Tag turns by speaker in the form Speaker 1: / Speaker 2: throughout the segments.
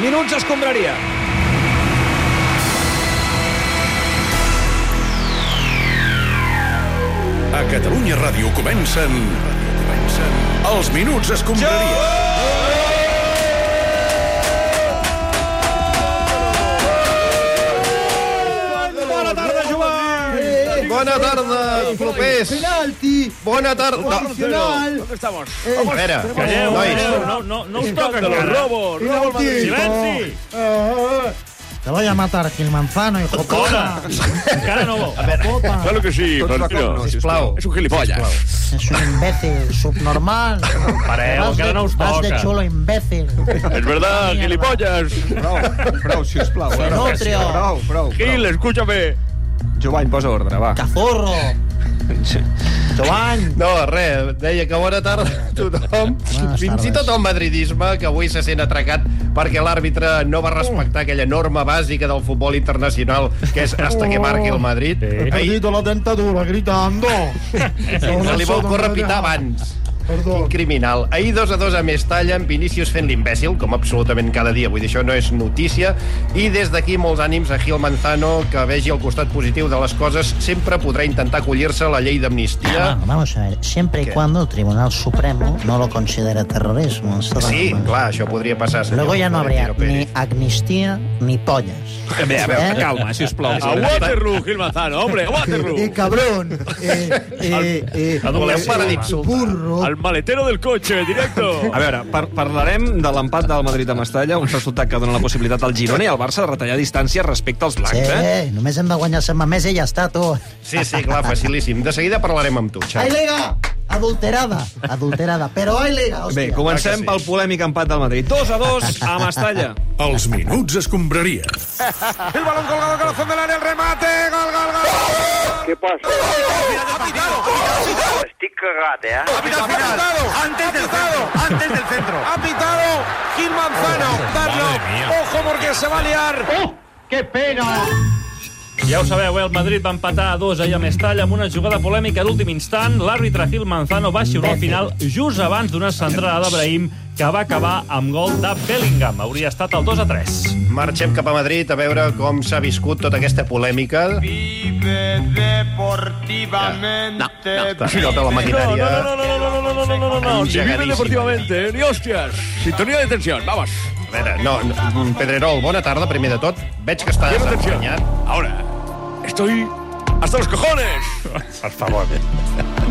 Speaker 1: minuts escombraria.
Speaker 2: A Catalunya Ràdio comencen... comencen... Els Minuts Escombraria.
Speaker 1: Bona tarda, Joan!
Speaker 3: Bona tarda, propers.
Speaker 4: Penalti.
Speaker 3: Bona tarda.
Speaker 4: Final.
Speaker 1: Com estamos?
Speaker 3: A veure,
Speaker 5: Eh, Calleu,
Speaker 3: nois.
Speaker 5: calleu, no, no, no us toca encara.
Speaker 1: Robos, robos,
Speaker 4: Penalti.
Speaker 5: Silenci!
Speaker 6: Te voy a matar aquí el manzano, hijo de
Speaker 5: Hola!
Speaker 6: puta.
Speaker 5: Encara no vol.
Speaker 2: Claro que sí, Florentino.
Speaker 3: Sisplau.
Speaker 2: És un gilipolles.
Speaker 6: Es un imbécil subnormal.
Speaker 2: Eh,
Speaker 5: Pareu,
Speaker 6: Vas
Speaker 5: encara
Speaker 6: de,
Speaker 5: no us
Speaker 6: vas de
Speaker 5: toca.
Speaker 6: chulo imbécil.
Speaker 2: És verdad,
Speaker 6: Mierda.
Speaker 2: gilipolles.
Speaker 4: Prou, prou, sisplau.
Speaker 7: eh?
Speaker 6: Que
Speaker 4: ara.
Speaker 6: no, trio.
Speaker 4: Prou, prou, prou.
Speaker 2: Gil, escúchame.
Speaker 4: Jovany, posa ordre, va.
Speaker 6: Cazurro. Joan.
Speaker 3: No, res, deia que bona tarda a tothom,
Speaker 6: Bones
Speaker 3: fins i
Speaker 6: tardes.
Speaker 3: tot el madridisme, que avui se sent atracat perquè l'àrbitre no va respectar aquella norma bàsica del futbol internacional, que és hasta que marqui el Madrid. Ahir
Speaker 6: la dentadura gritando.
Speaker 3: se li va ocórrer pitar abans. Quin criminal. Ahir 2 a 2 a Mestalla, amb Vinícius fent l'imbècil, com absolutament cada dia. Vull dir, això no és notícia. I des d'aquí molts ànims a Gil Manzano, que vegi el costat positiu de les coses, sempre podrá intentar acollir-se a la llei d'amnistia.
Speaker 6: Ah, Vamos a ver, siempre y
Speaker 3: ¿Qué?
Speaker 6: cuando el Tribunal Supremo no lo considere terrorismo. Esto da
Speaker 3: Sí,
Speaker 6: igual.
Speaker 3: clar, això podria passar, senyor.
Speaker 6: Luego ya no habría
Speaker 3: Florentino
Speaker 6: ni
Speaker 3: Pérez.
Speaker 6: amnistía ni pollas.
Speaker 1: A veure, a veure,
Speaker 6: Eh?
Speaker 1: calma, sisplau.
Speaker 2: A Waterloo, Gil Manzano, hombre, a Waterloo.
Speaker 4: cabrón. Eh, eh, eh,
Speaker 5: A doble
Speaker 3: Voleu parar d'insultar?
Speaker 2: Al maletero del cotxe, directo.
Speaker 7: A veure, par parlarem de l'empat del Madrid a Mestalla, un resultat que dona la possibilitat al Girona i al Barça de retallar distància respecte als
Speaker 6: Sí,
Speaker 7: blancs, eh?
Speaker 6: només hem de guanyar setmana més i ja està, tu.
Speaker 3: Sí, sí, clar, facilíssim. De seguida parlarem amb tu,
Speaker 6: Hay
Speaker 3: Xavi.
Speaker 6: liga adulterada, adulterada, però hay liga, hòstia.
Speaker 7: Bé, comencem
Speaker 3: clar que sí.
Speaker 7: pel polèmic empat del Madrid. 2 a 2 a Mestalla.
Speaker 2: Els Minuts Escombraria.
Speaker 7: El balón colgado al corazón del área, el remate, gol, gol, gol.
Speaker 8: ¿Qué pasa? Estoy cagado, ¿eh?
Speaker 3: Al final, antes del centro, antes del centro.
Speaker 1: Ha pitado Gil Manzano. Darlo. Ojo porque se va a liar.
Speaker 5: Ja ho sabeu, eh? el Madrid va empatar a dos ahir a Mestalla amb una jugada polèmica d'últim instant. L'àrbitre Gil Manzano va xiular al final just abans d'una centrada d'Abrahim que va acabar amb gol de Bellingham. Hauria estat el 2 a 3.
Speaker 3: Marxem cap a Madrid a veure com s'ha viscut tota aquesta polèmica. Vive deportivamente. Ja. No, no, pilota la
Speaker 2: No,
Speaker 3: maquinària.
Speaker 2: no, no, no, no, no, no, no, no, no, no. Ni vive
Speaker 3: Engegadíssim.
Speaker 2: deportivamente, eh, ni hostias. Sintonía de tensión, vamos.
Speaker 3: A veure, no, no, Pedrerol, bona tarda, primer de tot. Veig que estàs
Speaker 2: Lleva atenció.
Speaker 3: emprenyat.
Speaker 2: Ahora, estoy hasta los cojones. Por favor.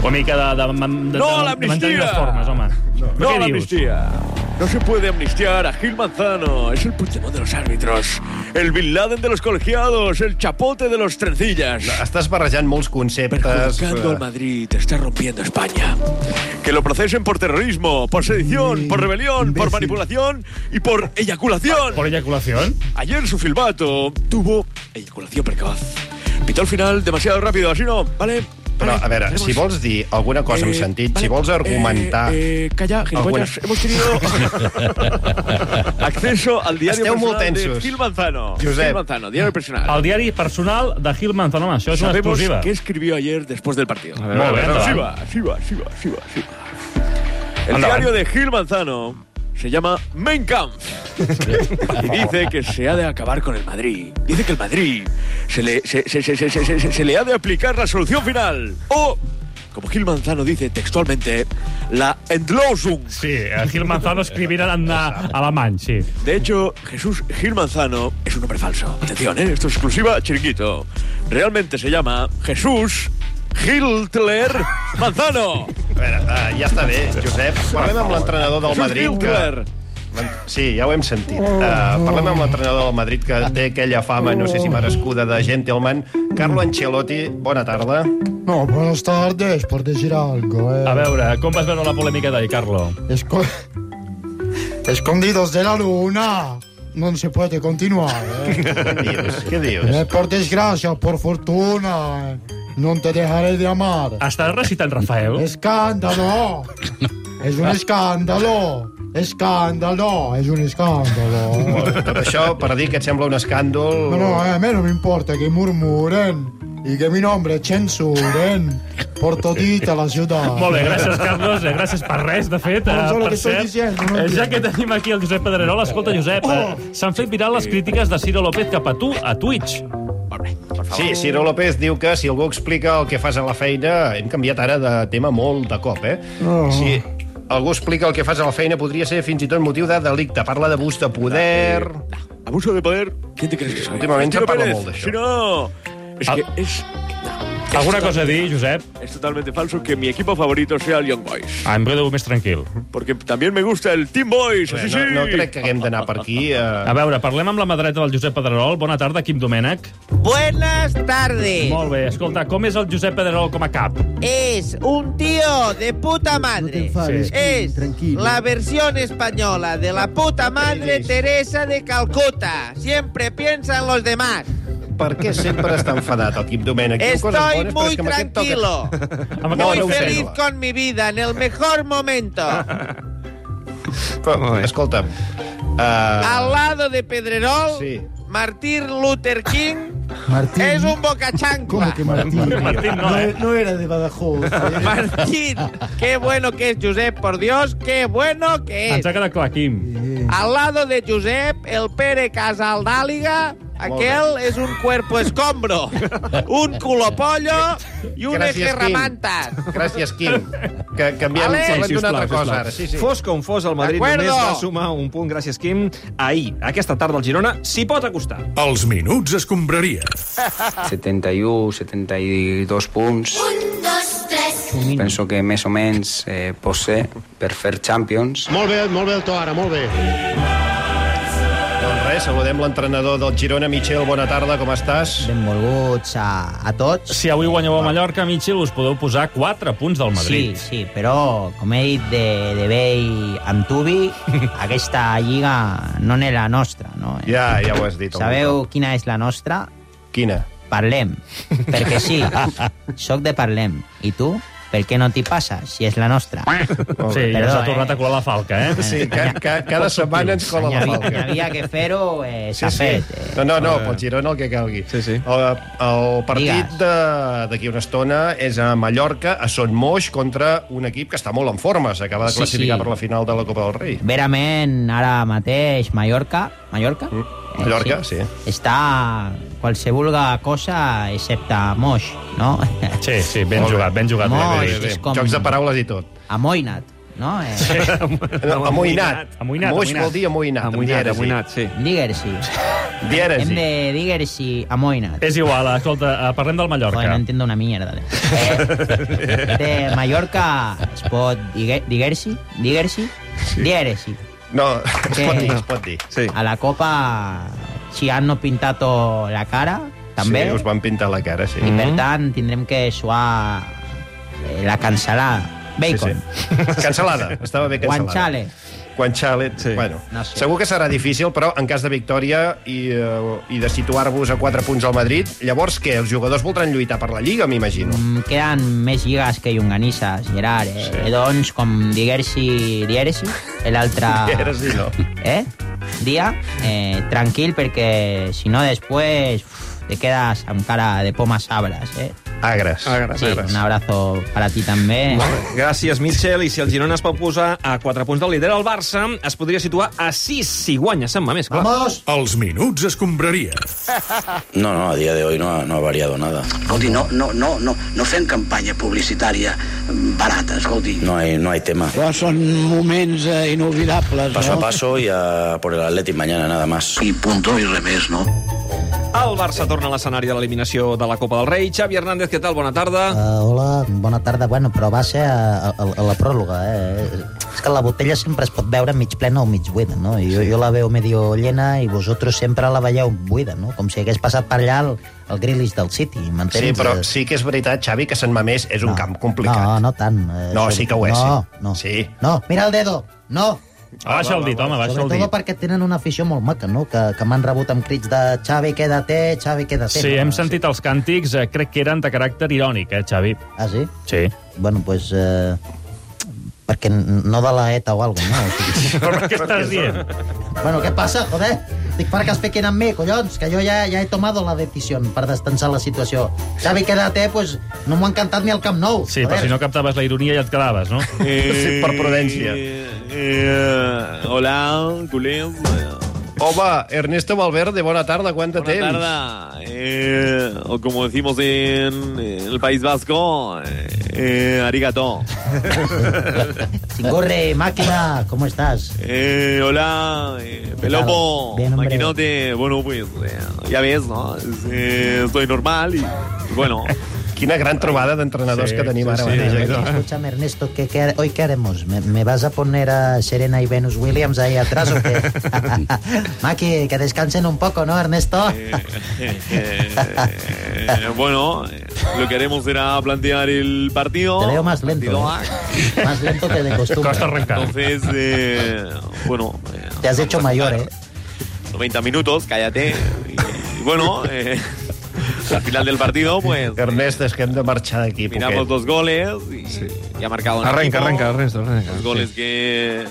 Speaker 5: Una mica de, de, de, de,
Speaker 2: No a
Speaker 5: de, de
Speaker 2: l'amnistia!
Speaker 5: mantenir les formes, home. Però
Speaker 2: No
Speaker 5: què
Speaker 2: a la
Speaker 5: dius?
Speaker 2: amnistía. No se puede amnistiar a Gil Manzano. Es el Puigdemont de los árbitros. El Bin Laden de los colegiados. El chapote de los trencillas.
Speaker 3: Estàs barrejant molts conceptes. eh,
Speaker 2: Perjudicando al Madrid, está rompiendo España. Que lo procesen por terrorismo, por sedición, por rebelión, por manipulación y por eyaculación.
Speaker 5: Por eyaculació?
Speaker 2: Ayer su filbato tuvo eyaculación precaz. Pitó al final demasiado rápido, así no, ¿vale?
Speaker 3: Però,
Speaker 2: Vale,
Speaker 3: a veure,
Speaker 2: tenemos-
Speaker 3: si vols dir alguna cosa amb
Speaker 2: Eh,
Speaker 3: sentit,
Speaker 2: vale,
Speaker 3: si vols argumentar...
Speaker 2: Eh, eh, calla, gilipollas.
Speaker 3: alguna-
Speaker 2: Hemos tenido acceso al diario
Speaker 3: Esteu molt
Speaker 2: personal de
Speaker 3: tensos.
Speaker 2: Gil Manzano.
Speaker 3: Josep.
Speaker 2: Gil Manzano, diario personal.
Speaker 5: El diari personal de Gil Manzano, home, això és una
Speaker 2: Sabemos
Speaker 5: exclusiva.
Speaker 2: qué escribió ayer después del partido.
Speaker 5: Molt bé,
Speaker 2: Sí
Speaker 5: endavant.
Speaker 2: va, sí va, sí va, sí va, sí va. El diario de Gil Manzano se llama Mein Kampf y dice que se ha de acabar con el Madrid. Dice que el Madrid se le, se, se- se- se- se- se- se- se le ha de aplicar la solución final o, como Gil Manzano dice textualmente, la Endlosung.
Speaker 5: Sí, eh, Gil Manzano escrivint en eh, alemany, sí.
Speaker 2: De hecho, Jesús Gil Manzano es un hombre falso. Atención, ¿eh? esto es exclusiva chiringuito. Realmente se llama Jesús Hitler Manzano.
Speaker 3: A veure, eh, ja està bé, Josep. Parlem amb l'entrenador del
Speaker 2: Jesús
Speaker 3: Madrid, que...
Speaker 2: Hitler.
Speaker 3: Sí, ja ho hem sentit. Uh, parlem amb l'entrenador del Madrid, que té aquella fama, no sé
Speaker 2: Oh.
Speaker 3: si merescuda, de gentleman. Carlo Ancelotti, bona tarda.
Speaker 4: No, buenas tardes, por decir algo. eh.
Speaker 5: A veure, com vas veure la polèmica d'ahir, Carlo?
Speaker 4: Esco- Escondidos de la luna. No se puede continuar. eh.
Speaker 3: Què dius? Què dius?
Speaker 4: Eh, por desgracia, por fortuna. eh, No te dejaré de amar.
Speaker 5: Estàs recitant Rafael?
Speaker 4: Escándalo. Es un escándalo. Escándalo. Es un escándalo.
Speaker 3: Tot això per dir que et sembla un escàndol...
Speaker 4: eh, No, no, a mí no me importa que murmuren. y que mi nombre es Chensu, ven, por todita la ciudad.
Speaker 5: Molt bé, gràcies, Carlos. Eh, gràcies per res, de fet. Eh,
Speaker 4: Ah, solo
Speaker 5: per
Speaker 4: que estoy diciendo, no Oh!
Speaker 5: eh, ja
Speaker 4: entiendo.
Speaker 5: que tenim aquí el Josep Pedrerol, escolta, Josep, eh, s'han fet viral les crítiques de Ciro López cap a tu a Twitch.
Speaker 3: Sí, Ciro López diu que si algú explica el que fas a la feina... Hem canviat ara de tema molt de cop, eh?
Speaker 4: Oh.
Speaker 3: Si algú explica el que fas a la feina podria ser fins i tot motiu de delicte. Parla d'abús de poder...
Speaker 2: Abuso de poder, ¿quién te crees que soy?
Speaker 3: Últimamente
Speaker 2: Florentino
Speaker 3: se parla
Speaker 2: Pérez.
Speaker 3: molt d'això.
Speaker 2: Si no... Es
Speaker 5: Ah.
Speaker 2: que es,
Speaker 5: Alguna cosa a dir, Josep?
Speaker 2: es totalmente falso que mi equipo favorito sea el Young Boys.
Speaker 5: Ah, em quedo més tranquil.
Speaker 2: Porque también me gusta el Team Boys.
Speaker 3: Bé,
Speaker 2: así sí.
Speaker 3: no, no crec que haguem d'anar per aquí.
Speaker 5: A
Speaker 3: Eh,
Speaker 5: veure, parlem amb la mà dreta del Josep Pedrerol. Bona tarda, Quim Domènech.
Speaker 9: Buenas tardes.
Speaker 5: Molt bé, escolta, com és el Josep Pedrerol com a cap?
Speaker 9: Es un tío de puta
Speaker 4: No te
Speaker 9: madre.
Speaker 4: enfades,
Speaker 5: Sí.
Speaker 4: Kim,
Speaker 9: Es
Speaker 4: tranquilo.
Speaker 9: la versión española de la puta madre Teresa de Calcuta. Siempre piensa en los demás.
Speaker 3: per què sempre està enfadat el Quim Domènech? Diu coses bones,
Speaker 9: Estoy
Speaker 3: però
Speaker 9: muy
Speaker 3: és que amb aquest toca-
Speaker 9: tranquilo.
Speaker 5: Amb
Speaker 3: No,
Speaker 9: Muy
Speaker 3: no ho sé,
Speaker 9: feliz
Speaker 3: no.
Speaker 9: con mi vida, en el mejor momento.
Speaker 3: Però, escolta'm... Uh,
Speaker 9: Al lado de Pedrerol,
Speaker 3: Sí.
Speaker 9: Martín Luther King
Speaker 4: Martín.
Speaker 9: es un bocachancla.
Speaker 4: ¿Cómo que Martín?
Speaker 5: Martín no, eh?
Speaker 4: no era de Badajoz. eh.
Speaker 9: Martín, qué bueno que es Josep, por Dios, qué bueno
Speaker 3: Eh.
Speaker 9: que es.
Speaker 5: Ens ha quedat clar, Quim.
Speaker 9: Al lado de Josep, el Pere Casaldàliga, aquel és un cuerpo escombro, un culopollo i
Speaker 3: Gràcies,
Speaker 9: unes
Speaker 3: Quim.
Speaker 9: gerramantes.
Speaker 3: gràcies, Quim. Que canviem,
Speaker 9: Vale.
Speaker 3: parlem
Speaker 7: Sí,
Speaker 3: d'una altra
Speaker 7: sisplau,
Speaker 3: cosa
Speaker 7: sisplau.
Speaker 3: ara. Sí, sí.
Speaker 7: Fos com fos, el Madrid
Speaker 9: D'acuerdo.
Speaker 7: només va sumar un punt, gràcies, Quim. Ahir, aquesta tarda, el Girona s'hi pot acostar.
Speaker 10: Els minuts es combraria.
Speaker 11: 71, 72 punts. Penso que més o menys eh, pot ser per fer Champions.
Speaker 3: Doncs res, saludem l'entrenador del Girona, Michel, bona tarda, com estàs?
Speaker 12: Benvolguts a, a tots.
Speaker 5: Si avui guanyeu a Mallorca, Mitchell, us podeu posar 4 punts del
Speaker 12: Sí,
Speaker 5: Madrid.
Speaker 12: sí, però com he dit de, de vell amb Tubi, aquesta lliga no n'és la nostra. No?
Speaker 3: Ja, ja ho has dit. algun
Speaker 12: Sabeu quina és la nostra?
Speaker 3: cop. Quina?
Speaker 12: Parlem. Perquè sí, sóc de Parlem. I tu? Per què no t'hi passa, si és la nostra?
Speaker 5: sí ja
Speaker 12: Perdó,
Speaker 5: s'ha tornat
Speaker 12: eh?
Speaker 5: a colar la falca, eh?
Speaker 3: Sí, ca, ca, cada setmana ens cola la
Speaker 12: N'hi havia, n'hi
Speaker 3: falca.
Speaker 12: havia que fer-ho, eh, s'ha fet. Eh.
Speaker 3: No, no, no, pel Girona el que calgui.
Speaker 7: Sí, sí.
Speaker 3: El, el partit
Speaker 12: Digues.
Speaker 3: de- d'aquí una estona és a Mallorca, a Son Moix, contra un equip que està molt en forma. S'acaba de
Speaker 12: Sí,
Speaker 3: classificar
Speaker 12: sí.
Speaker 3: per la final de la Copa del Rei.
Speaker 12: Verament, ara mateix, Mallorca... Mallorca?
Speaker 5: Mm,
Speaker 12: Eh,
Speaker 3: Mallorca, sí.
Speaker 12: Està qualsevol cosa excepte moix, no?
Speaker 5: Sí, sí, ben
Speaker 3: Molt bé.
Speaker 5: jugat, ben jugat.
Speaker 12: Molt
Speaker 5: ben
Speaker 12: bé.
Speaker 5: jugat.
Speaker 12: és com-
Speaker 3: Jocs de paraules i tot.
Speaker 12: Amoïnat, no? Eh,
Speaker 3: No, amoïnat.
Speaker 5: Amoïnat,
Speaker 3: Moix
Speaker 5: amoïnat.
Speaker 3: vol dir amoïnat. amb
Speaker 7: Ah, Amoïnat,
Speaker 3: dièresi.
Speaker 7: amoïnat, sí.
Speaker 12: Digue-s'hi. Hem
Speaker 3: Dièresi.
Speaker 12: de dir-s'hi amoïnat.
Speaker 5: És igual, escolta, eh, parlem del
Speaker 12: Joder, no
Speaker 5: Mallorca.
Speaker 12: entenc una mierda. Eh, de Mallorca es pot digue- dir-s'hi? Dir-s'hi? Dir-s'hi.
Speaker 3: No, es pot dir,
Speaker 12: Eh.
Speaker 3: es pot dir.
Speaker 7: Sí.
Speaker 12: A la Copa ci hanno pintato la cara, també.
Speaker 3: Sí, us Mm-hmm. van pintar la cara, sí.
Speaker 12: I per tant tindrem que suar eh, la cancel·lada. Bacon.
Speaker 3: Sí, sí. Cancelada. Estava bé cancelada.
Speaker 12: Guanchale.
Speaker 3: Guanchale.
Speaker 7: Sí.
Speaker 3: Sí. Bueno,
Speaker 12: No sé.
Speaker 3: Segur que serà difícil, però en cas de victòria i, eh, i de situar-vos a 4 punts al Madrid, llavors què? Els jugadors voldran lluitar per la Lliga, m'imagino.
Speaker 12: Mm, Queden més lligues que llonganisses, Gerard. Eh? Sí. Doncs, com diguer-s'hi, diguer-s'hi, l'altre
Speaker 3: Era sí, no?
Speaker 12: eh? dia, eh, tranquil, perquè si no després uf, te quedes amb cara de pomes sabres. Eh?
Speaker 3: Agres.
Speaker 12: Sí, un abrazo para ti també.
Speaker 7: Gràcies, Mitchell. I si el Girona es pot posar a 4 punts del líder, el Barça es podria situar a 6 si guanya Sant Mamés, clar.
Speaker 4: Vamos.
Speaker 10: Els minuts es combraria.
Speaker 11: No, no, a día de hoy no ha, no ha variado nada.
Speaker 9: Escolti, no, no, no, no, no fem campanya publicitària barata, escolti.
Speaker 11: No hay, no hay tema.
Speaker 9: Però són moments eh, inoblidables,
Speaker 11: Paso a paso y a por el Atleti mañana nada más.
Speaker 9: I punto, i res més, no?
Speaker 7: El Barça torna a l'escenari de l'eliminació de la Copa del Rei. Xavi Hernández, què tal? Bona tarda.
Speaker 12: Uh, hola, bona tarda. Bueno, però va ser a, a, a la pròloga, eh? És que la botella sempre es pot veure mig plena o mig buida, no? Jo, jo la veu medio llena i vosaltres sempre la veieu buida, no? Com si hagués passat per allà el, el Grilis del City, m'entens?
Speaker 3: Sí, però
Speaker 12: Eh,
Speaker 3: sí que és veritat, Xavi, que Sant Mamés és un camp
Speaker 12: No,
Speaker 3: complicat.
Speaker 12: no tant. Eh,
Speaker 3: No, sí que ho és,
Speaker 12: No,
Speaker 3: sí.
Speaker 12: no.
Speaker 3: Sí.
Speaker 12: No, mira el dedo. No.
Speaker 5: Ah, Baixa el dit, home, baixa el
Speaker 12: Sobretot
Speaker 5: dit.
Speaker 12: perquè tenen una afició molt maca, no? Que, que m'han rebut amb crits de Eh, Xavi, quédate, Xavi, quédate.
Speaker 5: Sí,
Speaker 12: no?
Speaker 5: hem sentit els càntics, eh, crec que eren de caràcter irònic, eh, Xavi?
Speaker 12: Ah, sí?
Speaker 5: Sí.
Speaker 12: Bueno, pues... Eh, perquè E n- no de la ETA o alguna cosa, no? O sigui,
Speaker 5: Però què estàs dient?
Speaker 12: bueno, què passa, joder?
Speaker 6: Estic perquè es pequen amb mi, collons, que jo ja, ja he tomado la decisión per destensar la situació. Xavi, quédate, eh, pues no m'ho ha encantat ni el Camp Nou.
Speaker 5: Sí, però si no captaves la ironia ja et quedaves, no?
Speaker 3: Sí, per prudència.
Speaker 2: eh,
Speaker 13: Eh, hola, culem.
Speaker 3: Home, Ernesto Valverde, bona tarda, quant de
Speaker 13: Bona
Speaker 3: temps?
Speaker 13: tarda. Eh, o como decimos en el País Vasco, eh, arigato.
Speaker 6: Singorre, màquina, com estàs?
Speaker 13: Eh, hola, eh, Pelopo,
Speaker 6: Bien, hombre.
Speaker 13: maquinote. Bueno, pues, eh, ya ves, ¿no? Eh, estoy normal y, bueno.
Speaker 3: Quina gran trobada d'entrenadors
Speaker 13: Sí,
Speaker 3: que tenim
Speaker 13: sí,
Speaker 3: ara
Speaker 13: sí,
Speaker 3: mateix.
Speaker 13: sí.
Speaker 3: aquí.
Speaker 6: Escúchame, Ernesto, ¿qué, qué, hoy qué haremos? ¿Me, me vas a poner a Serena y Venus Williams ahí atrás o qué? Maki, que descansen un poco, ¿no, Ernesto?
Speaker 13: Eh, bueno, eh, lo que haremos será plantear el partido.
Speaker 6: Te veo más lento,
Speaker 13: Partido
Speaker 2: ah.
Speaker 6: ¿eh? Más lento que de costumbre. Costa arrancar.
Speaker 13: Entonces, eh, bueno, eh,
Speaker 6: Te has hecho mayor, ¿eh?
Speaker 13: 90 minutos, cállate. Y, bueno, eh, al final del partido, pues,
Speaker 3: Ernest, és que hem de marxar d'aquí,
Speaker 13: miramos
Speaker 3: poquet.
Speaker 13: dos goles y, y ha marcado un
Speaker 7: Arrenca,
Speaker 13: equipo,
Speaker 7: arrenca, Ernesto, arrenca.
Speaker 13: Los goles que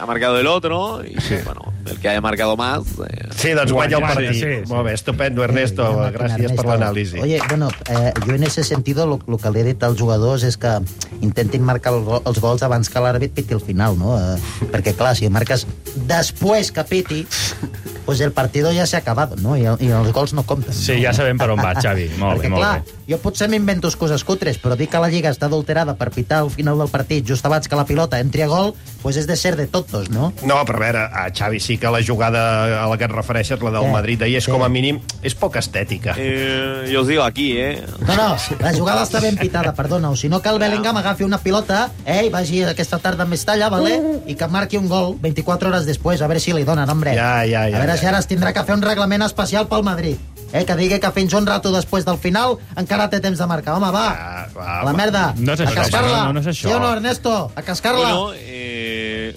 Speaker 13: ha marcado el otro y, bueno, el que haya marcado más. eh,
Speaker 3: Sí, doncs guanya el
Speaker 13: guanya,
Speaker 3: partit.
Speaker 13: sí, sí.
Speaker 3: Molt bé, estupendo, Ernesto. Gràcies per
Speaker 6: Ernesto,
Speaker 3: l'anàlisi.
Speaker 6: Oye, bueno, eh, jo en ese sentido lo, lo que li he dit als jugadors és que intentin marcar el, go- els gols abans que l'àrbit piti el final, no? Eh, perquè, clar, si marques després que piti, pues el partido ja s'ha acabat, no? I, el- I els gols no compten.
Speaker 5: Sí, ja sabem per on va, Xavi. Molt bé,
Speaker 6: Perquè,
Speaker 5: molt
Speaker 6: clar,
Speaker 5: bé.
Speaker 6: jo potser m'invento excuses cutres, però dir que la Lliga està adulterada per pitar al final del partit just abans que la pilota entri a gol, pues és de ser de totos, no?
Speaker 3: No, però a veure, a Xavi sí que la jugada a la que et refereixes, la del
Speaker 6: Eh, Sí,
Speaker 3: Madrid d'ahir, és com a mínim, és poc estètica.
Speaker 13: Eh, yo os digo aquí, ¿eh?
Speaker 6: No, no, la jugada està ben pitada, perdona. O si no, que el Bellingham agafi una pilota eh, i vagi aquesta tarda a Mestalla, vale? i que marqui un gol 24 hores després, a veure si li donen, hombre.
Speaker 3: Ja, ja, ja,
Speaker 6: a veure
Speaker 3: ja.
Speaker 6: si ara es tindrà que fer un reglament especial pel Madrid. Eh, que digui que fins un rato després del final encara té temps de marcar. Home, va,
Speaker 3: Ah, va
Speaker 6: a la merda.
Speaker 5: No és
Speaker 6: a
Speaker 5: això,
Speaker 6: cascar-la.
Speaker 5: no, no és això.
Speaker 6: Sí o no, Ernesto? A cascar-la.
Speaker 13: Bueno, eh,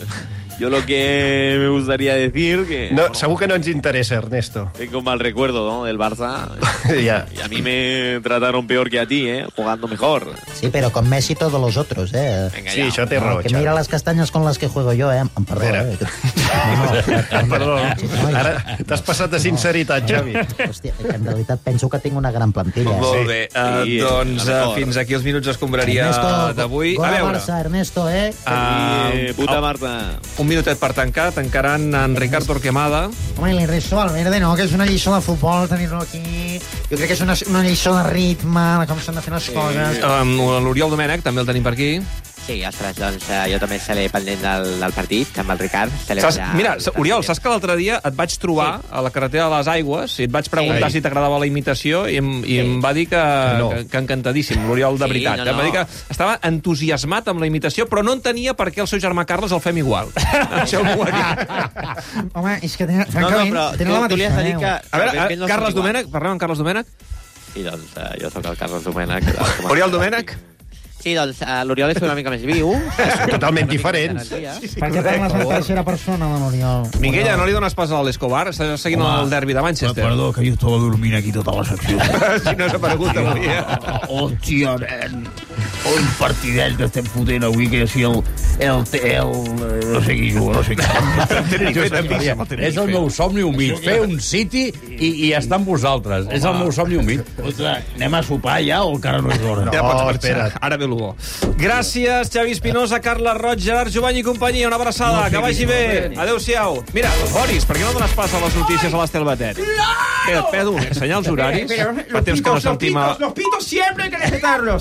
Speaker 13: yo lo que me gustaría decir que
Speaker 3: No, segur que no ens interessa, Ernesto.
Speaker 13: tengo mal recuerdo ¿no? del Barça
Speaker 3: Ja.
Speaker 13: y a mí me trataron peor que a ti, ¿eh? jugando mejor.
Speaker 6: Sí, però con Messi todos los otros, eh.
Speaker 13: Venga,
Speaker 3: Sí,
Speaker 13: ya.
Speaker 3: això té
Speaker 6: No,
Speaker 3: raó,
Speaker 6: que mira
Speaker 3: Xavi.
Speaker 6: las castañas con las que juego yo, eh. Em Perdó,
Speaker 3: Espera.
Speaker 6: eh. No, no,
Speaker 3: Perdó.
Speaker 6: Noi.
Speaker 3: Ara t'has passat de sinceritat, Xavi.
Speaker 6: Hòstia, que en realitat penso que tinc una gran plantilla. eh?
Speaker 7: Molt bé, eh,
Speaker 13: Sí, a
Speaker 7: doncs eh,
Speaker 13: mejor.
Speaker 7: fins aquí els minuts d'escombraria d'avui.
Speaker 6: Gol
Speaker 7: A
Speaker 6: a
Speaker 7: veure,
Speaker 6: Barça, Ernesto, eh?
Speaker 12: Ah.
Speaker 13: Eh,
Speaker 7: eh,
Speaker 13: puta
Speaker 7: el-
Speaker 13: Marta.
Speaker 7: un minutet per tancar, tancaran en Ricard Torquemada.
Speaker 6: Home, li resto al verde, no, que és una lliçó de futbol tenir-lo aquí. Jo crec que és una, una lliçó de ritme, de com s'han de fer les coses.
Speaker 7: Amb L'Oriol Domènech també el tenim per aquí.
Speaker 12: Sí, ostres, doncs eh, jo també seré pendent del, del partit amb el Ricard. Seré
Speaker 7: Saps,
Speaker 12: allà-
Speaker 7: mira, sa- Oriol, saps que l'altre dia et vaig trobar sí. a la carretera de les Aigües i et vaig preguntar
Speaker 3: Sí.
Speaker 7: sí. si t'agradava la imitació i em, i em va dir que,
Speaker 3: no.
Speaker 7: no. que, que encantadíssim, l'Oriol, de
Speaker 12: Sí,
Speaker 7: veritat. eh?
Speaker 12: no, no.
Speaker 7: Em va dir que estava entusiasmat amb la imitació, però no entenia per què el seu germà Carles el fem igual. Això m'ho va dir.
Speaker 6: Home, és que tenen,
Speaker 12: No, no,
Speaker 6: francament,
Speaker 12: però tu,
Speaker 6: tenen la
Speaker 12: tu li has
Speaker 6: mateixa
Speaker 12: de
Speaker 6: eh,
Speaker 12: dir
Speaker 6: veu.
Speaker 12: que...
Speaker 7: A veure,
Speaker 12: que ells
Speaker 7: a,
Speaker 12: no són
Speaker 7: Carles
Speaker 12: iguals.
Speaker 7: Domènech, parlem amb Carles Domènech?
Speaker 12: I doncs eh, jo sóc el Carles Domènech. Com a-
Speaker 7: Oriol Domènech?
Speaker 12: Sí, doncs eh, l'Oriol és una mica més viu.
Speaker 3: Totalment diferents.
Speaker 6: Per què parles en tercera persona, de l'Oriol?
Speaker 7: Miguella, no li dones pas a l'Escobar? Estàs seguint el derbi de Manchester.
Speaker 9: Perdó, que jo estava dormint aquí tota la secció.
Speaker 7: Si no has aparegut avui. eh?
Speaker 9: Hòstia, nen. Un partidet que estem fotent avui, que si el... El... el no sé qui juga, no sé qui.
Speaker 2: És el meu somni humit, fer un City i, i estar amb vosaltres. És el meu somni humit.
Speaker 9: Escolta, anem a sopar ja o encara no és l'hora?
Speaker 7: Ja pots marxar.
Speaker 3: espera't.
Speaker 7: Ara ve l'Ubo. Gràcies, Xavi Espinosa, Carles Roig, Gerard Jovany i companyia. Una abraçada, que vagi bé. Adéu-siau. Mira, Boris, per què no dones pas a les notícies a l'Estel Batet? No! Pedro, senyals horaris. Fa temps que no sentim... a-
Speaker 9: pitos siempre hay que respetarlos.